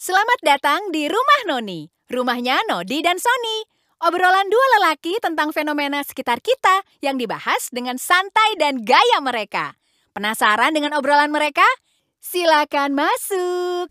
Selamat datang di rumah Noni. Rumahnya Nodi dan Sony. Obrolan dua lelaki tentang fenomena sekitar kita yang dibahas dengan santai dan gaya mereka. Penasaran dengan obrolan mereka? Silakan masuk.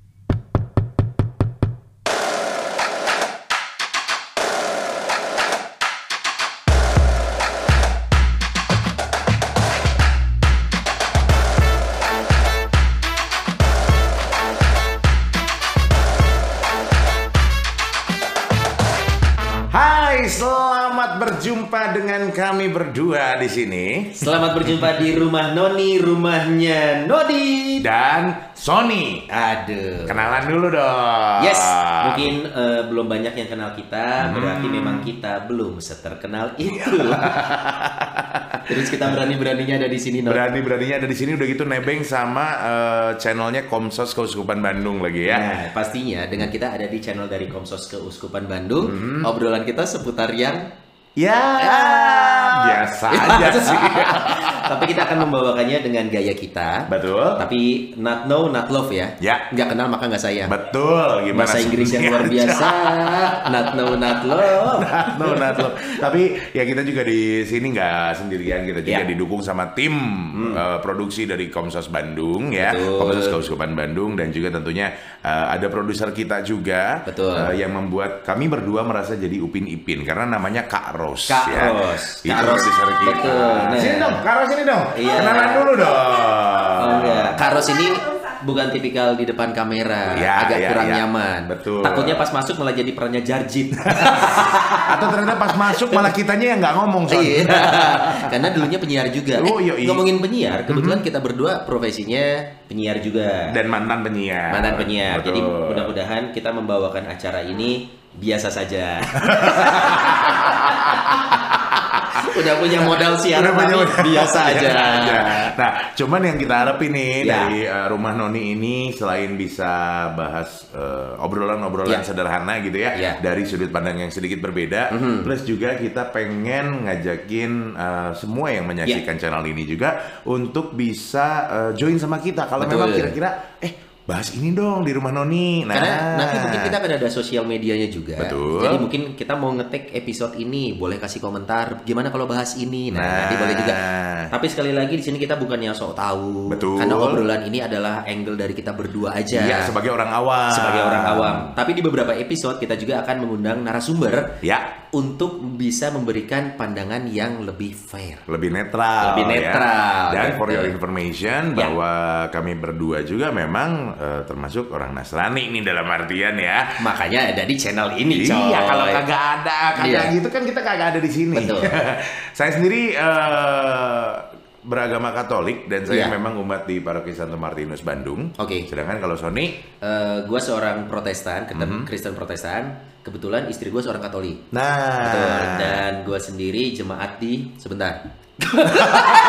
Hai, selamat berjumpa dengan kami berdua di sini Selamat berjumpa di rumah Noni, rumahnya Nodi. dan Sony. Aduh. Kenalan dulu dong. Yes, mungkin eh, belum banyak yang kenal kita, berarti Hmm. memang kita belum seterkenal itu. Terus kita berani-beraninya ada di sini, Nod. berani-beraninya ada di sini udah gitu nebeng sama eh, channelnya Komsos Keuskupan Bandung lagi ya. Nah, pastinya dengan kita ada di channel dari Komsos Keuskupan Bandung, Hmm. obrolan kita seputar yang Ya, Ah. biasa aja sih. Tapi kita akan membawakannya dengan gaya kita. Betul. Tapi not know, not love ya. Ya. Nggak kenal maka nggak sayang. Betul, gimana Bahasa Inggris yang luar biasa. not know, not love. No, not love. Tapi ya kita juga di sini nggak sendirian, kita juga Ya. didukung sama tim eh, produksi dari Komsos Bandung ya, Hmm. Betul. Komsos Keuskupan Bandung dan juga tentunya eh, ada produser kita juga Betul. eh, yang membuat kami berdua merasa jadi upin ipin karena namanya Kak Ros. Kak ya. Ros. Itu Kak Ros. produser kita. Betul, nah. Sini dong, Kak Ros sini dong. Iya. Kenalan dulu dong. Oh, enggak. Karos ini bukan tipikal di depan kamera, Ya, agak ya, kurang ya. nyaman. Betul. Takutnya pas masuk malah jadi perannya Jarjit. Atau ternyata pas masuk malah kitanya yang nggak ngomong soalnya. Iya. Karena dulunya penyiar juga. Oh, Eh, iya, iya. Ngomongin penyiar, kebetulan kita berdua profesinya penyiar juga. Dan mantan penyiar. mantan penyiar. Jadi Nah, Betul. mudah-mudahan kita membawakan acara ini biasa saja. Udah punya modal siaran Udah punya Iya, tapi modal. Iya, biasa aja. Biasa Nah, cuman yang kita harapin nih Ya. dari eh, rumah Noni ini selain bisa bahas eh, obrolan-obrolan Ya. sederhana gitu ya Ya. dari sudut pandang yang sedikit berbeda, Mm-hmm. plus juga kita pengen ngajakin eh, semua yang Iya. menyaksikan channel ini juga untuk bisa eh, join sama kita kalau Betul. memang kira-kira eh bahas ini dong di rumah Noni. Nah, Karena nanti mungkin kita akan ada sosial medianya juga. Betul. Jadi mungkin kita mau ngetek episode ini, boleh kasih komentar gimana kalau bahas ini. Nah, Nah. nanti boleh juga. Tapi sekali lagi di sini kita bukannya sok tahu. Betul. Karena obrolan ini adalah angle dari kita berdua aja. Iya, sebagai orang awam. sebagai orang awam. Tapi di beberapa episode kita juga akan mengundang narasumber Ya, untuk bisa memberikan pandangan yang lebih fair. lebih netral Lebih ya. netral, dan for betul. your information Ya. bahwa kami berdua juga memang eh, termasuk orang Nasrani nih dalam artian ya Makanya ada di channel ini, coy. Iya, kalau kagak ada, kagak Iya. gitu kan kita kagak ada di sini. Betul. saya sendiri eh, beragama Katolik dan saya Iya. memang umat di Paroki Santo Martinus Bandung. Oke. Sedangkan kalau Sony, Eh, gua seorang Protestan, Kristen, Mhm. Kristen Protestan. Kebetulan istri gua seorang Katolik. nah, Betul. Ah. Dan gua sendiri jemaat di sebentar.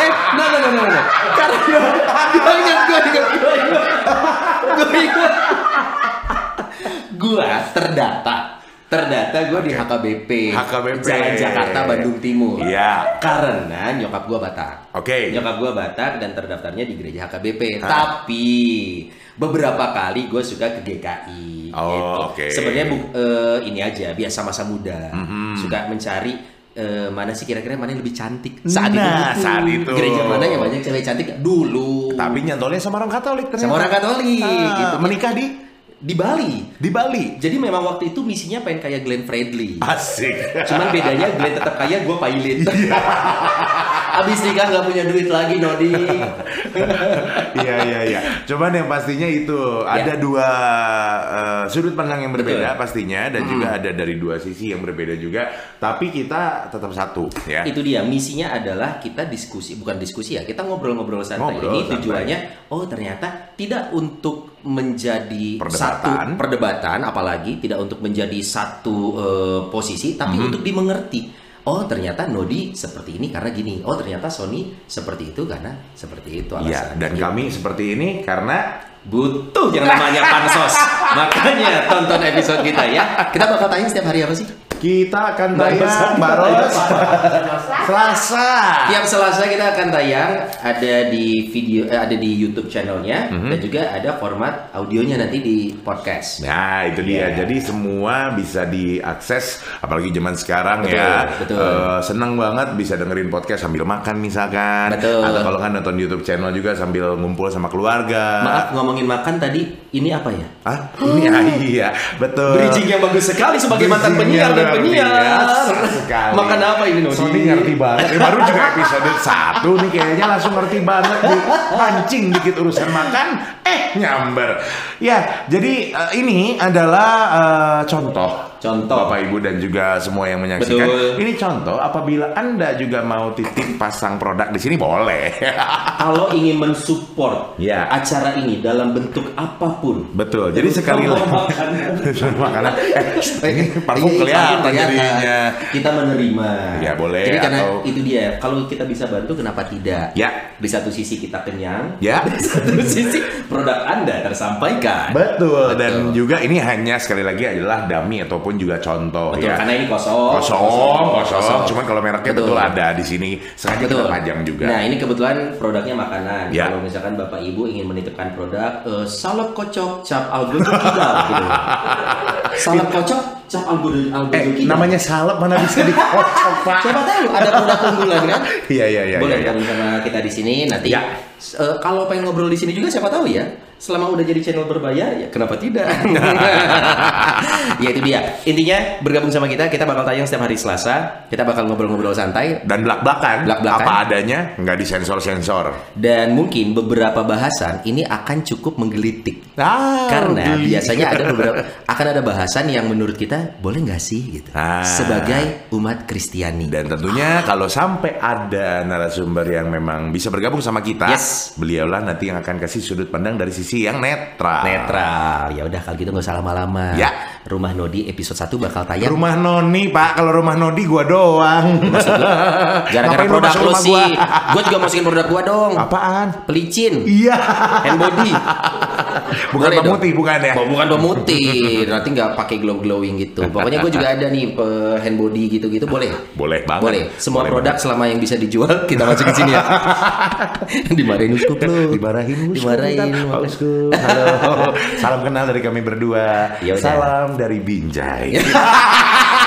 eh, no no no no no. Karena gua gua ingat gua ingat gua ingat. Gua ingat. Gua terdata. Terdata gua di HKBP. HKBP. Jalan Jakarta Bandung Timur. Iya. Karena nyokap gua Batak. Oke. Nyokap gue Batak dan terdaftarnya di gereja HKBP. Tapi beberapa kali gue suka ke GKI. Oh, oke. gitu. Sebenarnya bu- eh, ini aja biasa masa muda. Mm-hmm. Suka mencari eh, mana sih kira-kira mana yang lebih cantik saat Nah, itu. saat itu. Gereja mana yang banyak cewek cantik dulu. Tapi nyantolnya sama orang Katolik ternyata. Sama orang Katolik, Ah, gitu. Menikah di di Bali. di Bali. Jadi memang waktu itu misinya pengen kayak Glenn Fredly. Asik. Cuman bedanya Glenn tetap kaya, gue pailit. Abis nikah nggak punya duit lagi, Nodi. Iya iya iya. Cuman yang pastinya itu Ya. ada dua eh, sudut pandang yang berbeda pastinya dan juga ada dari dua sisi yang berbeda juga. Tapi kita tetap satu ya. itu dia misinya adalah kita diskusi bukan diskusi ya kita ngobrol-ngobrol santai Ngobrol ini santai. tujuannya oh ternyata tidak untuk menjadi Perdebatan. satu perdebatan apalagi tidak untuk menjadi satu eh, posisi tapi Mhm. untuk dimengerti oh ternyata Nodi seperti ini karena gini oh ternyata Sony seperti itu karena seperti itu Iya. alasan Dan kami seperti ini karena butuh yang namanya pansos makanya tonton episode kita ya kita bakal tanya setiap hari apa sih Kita akan Baros. tayang Baros Selasa. Tiap Selasa kita akan tayang ada di video eh, ada di YouTube channelnya dan juga ada format audionya nanti di podcast. Mhm. Nah, itu dia. Iya. Jadi semua bisa diakses apalagi zaman sekarang Betul, ya. betul. Eh, seneng banget bisa dengerin podcast sambil makan misalkan Betul. atau kalau kan nonton YouTube channel juga sambil ngumpul sama keluarga. Maaf ngomongin makan tadi ini apa ya? Ah, ini ah, iya, betul. Bridging yang bagus sekali sebagai mantan Bridging iya, yang penyiar dan luar penyiar. biasa sekali. Makan apa ini Nodi? Sony ngerti banget. Eh, baru juga episode 1 nih kayaknya langsung ngerti banget nih. Pancing dikit urusan makan, eh nyamber. Ya, jadi eh, ini adalah eh, contoh. Contoh. Bapak Ibu dan juga semua yang menyaksikan. Betul. Ini contoh apabila Anda juga mau titip pasang produk di sini boleh. Kalau ingin mensupport Ya. acara ini dalam bentuk apapun. Betul. Jadi sekali Contoh lagi makanan. makanan. Eh, ini parfum Iya, iya, kelihatan kelihatan. jadinya. Kita menerima. Ya, boleh, Jadi karena atau- itu dia. Kalau kita bisa bantu, kenapa tidak? Ya. Di satu sisi kita kenyang. Ya. Di satu sisi produk Anda tersampaikan. Betul. Dan juga ini hanya sekali lagi adalah dummy ataupun juga contoh Betul, ya. Karena ini kosong. kosong, kosong, Cuman kalau mereknya betul, ada di sini. Sengaja kita Betul. panjang juga. Nah, ini kebetulan produknya makanan. Ya. Kalau misalkan Bapak Ibu ingin menitipkan produk eh, salep kocok cap algojo kidal gitu. Salep kocok cap algojo eh, algojo kidal. namanya salep mana bisa dikocok, Pak? Siapa tahu ada produk unggulan kan? Iya, iya, iya, Boleh iya, iya. gabung sama kita di sini nanti. Ya. S- eh, kalau pengen ngobrol di sini juga siapa tahu ya. Selama udah jadi channel berbayar ya kenapa tidak? ya itu dia. Intinya bergabung sama kita, kita bakal tayang setiap hari Selasa. Kita bakal ngobrol-ngobrol santai Dan belak-belakan, Belak-belakan. apa adanya, nggak disensor-sensor. dan mungkin beberapa bahasan ini akan cukup menggelitik Ah, karena geli. biasanya ada beberapa akan ada bahasan yang menurut kita boleh nggak sih gitu Ah. sebagai umat Kristiani Dan tentunya kalau sampai ada narasumber yang memang bisa bergabung sama kita, Yes. beliaulah nanti yang akan kasih sudut pandang dari sisi yang netral. netral ya udah kalau gitu nggak usah lama-lama Ya. rumah Nodi episode 1 bakal tayang Rumah Noni, Pak. Kalau rumah Nodi gua doang. gara-gara Ngapain lu produk masuk lo rumah sih gua? gue juga masukin produk gua dong Apaan? pelicin Iya. hand body Bukan Boleh dong. pemutih, bukan ya? Oh, bukan pemutih nanti nggak pakai glow glowing gitu pokoknya gue juga ada nih eh, hand body gitu gitu boleh Boleh banget. Boleh. Semua Boleh produk selama yang bisa dijual kita masukin sini ya. Dimarahin uskup lu. Dimarahin Uskup. Dimarahin. ntar. Pak Uskup. Halo. Salam kenal dari kami berdua. Ya udah. Salam dari Binjai.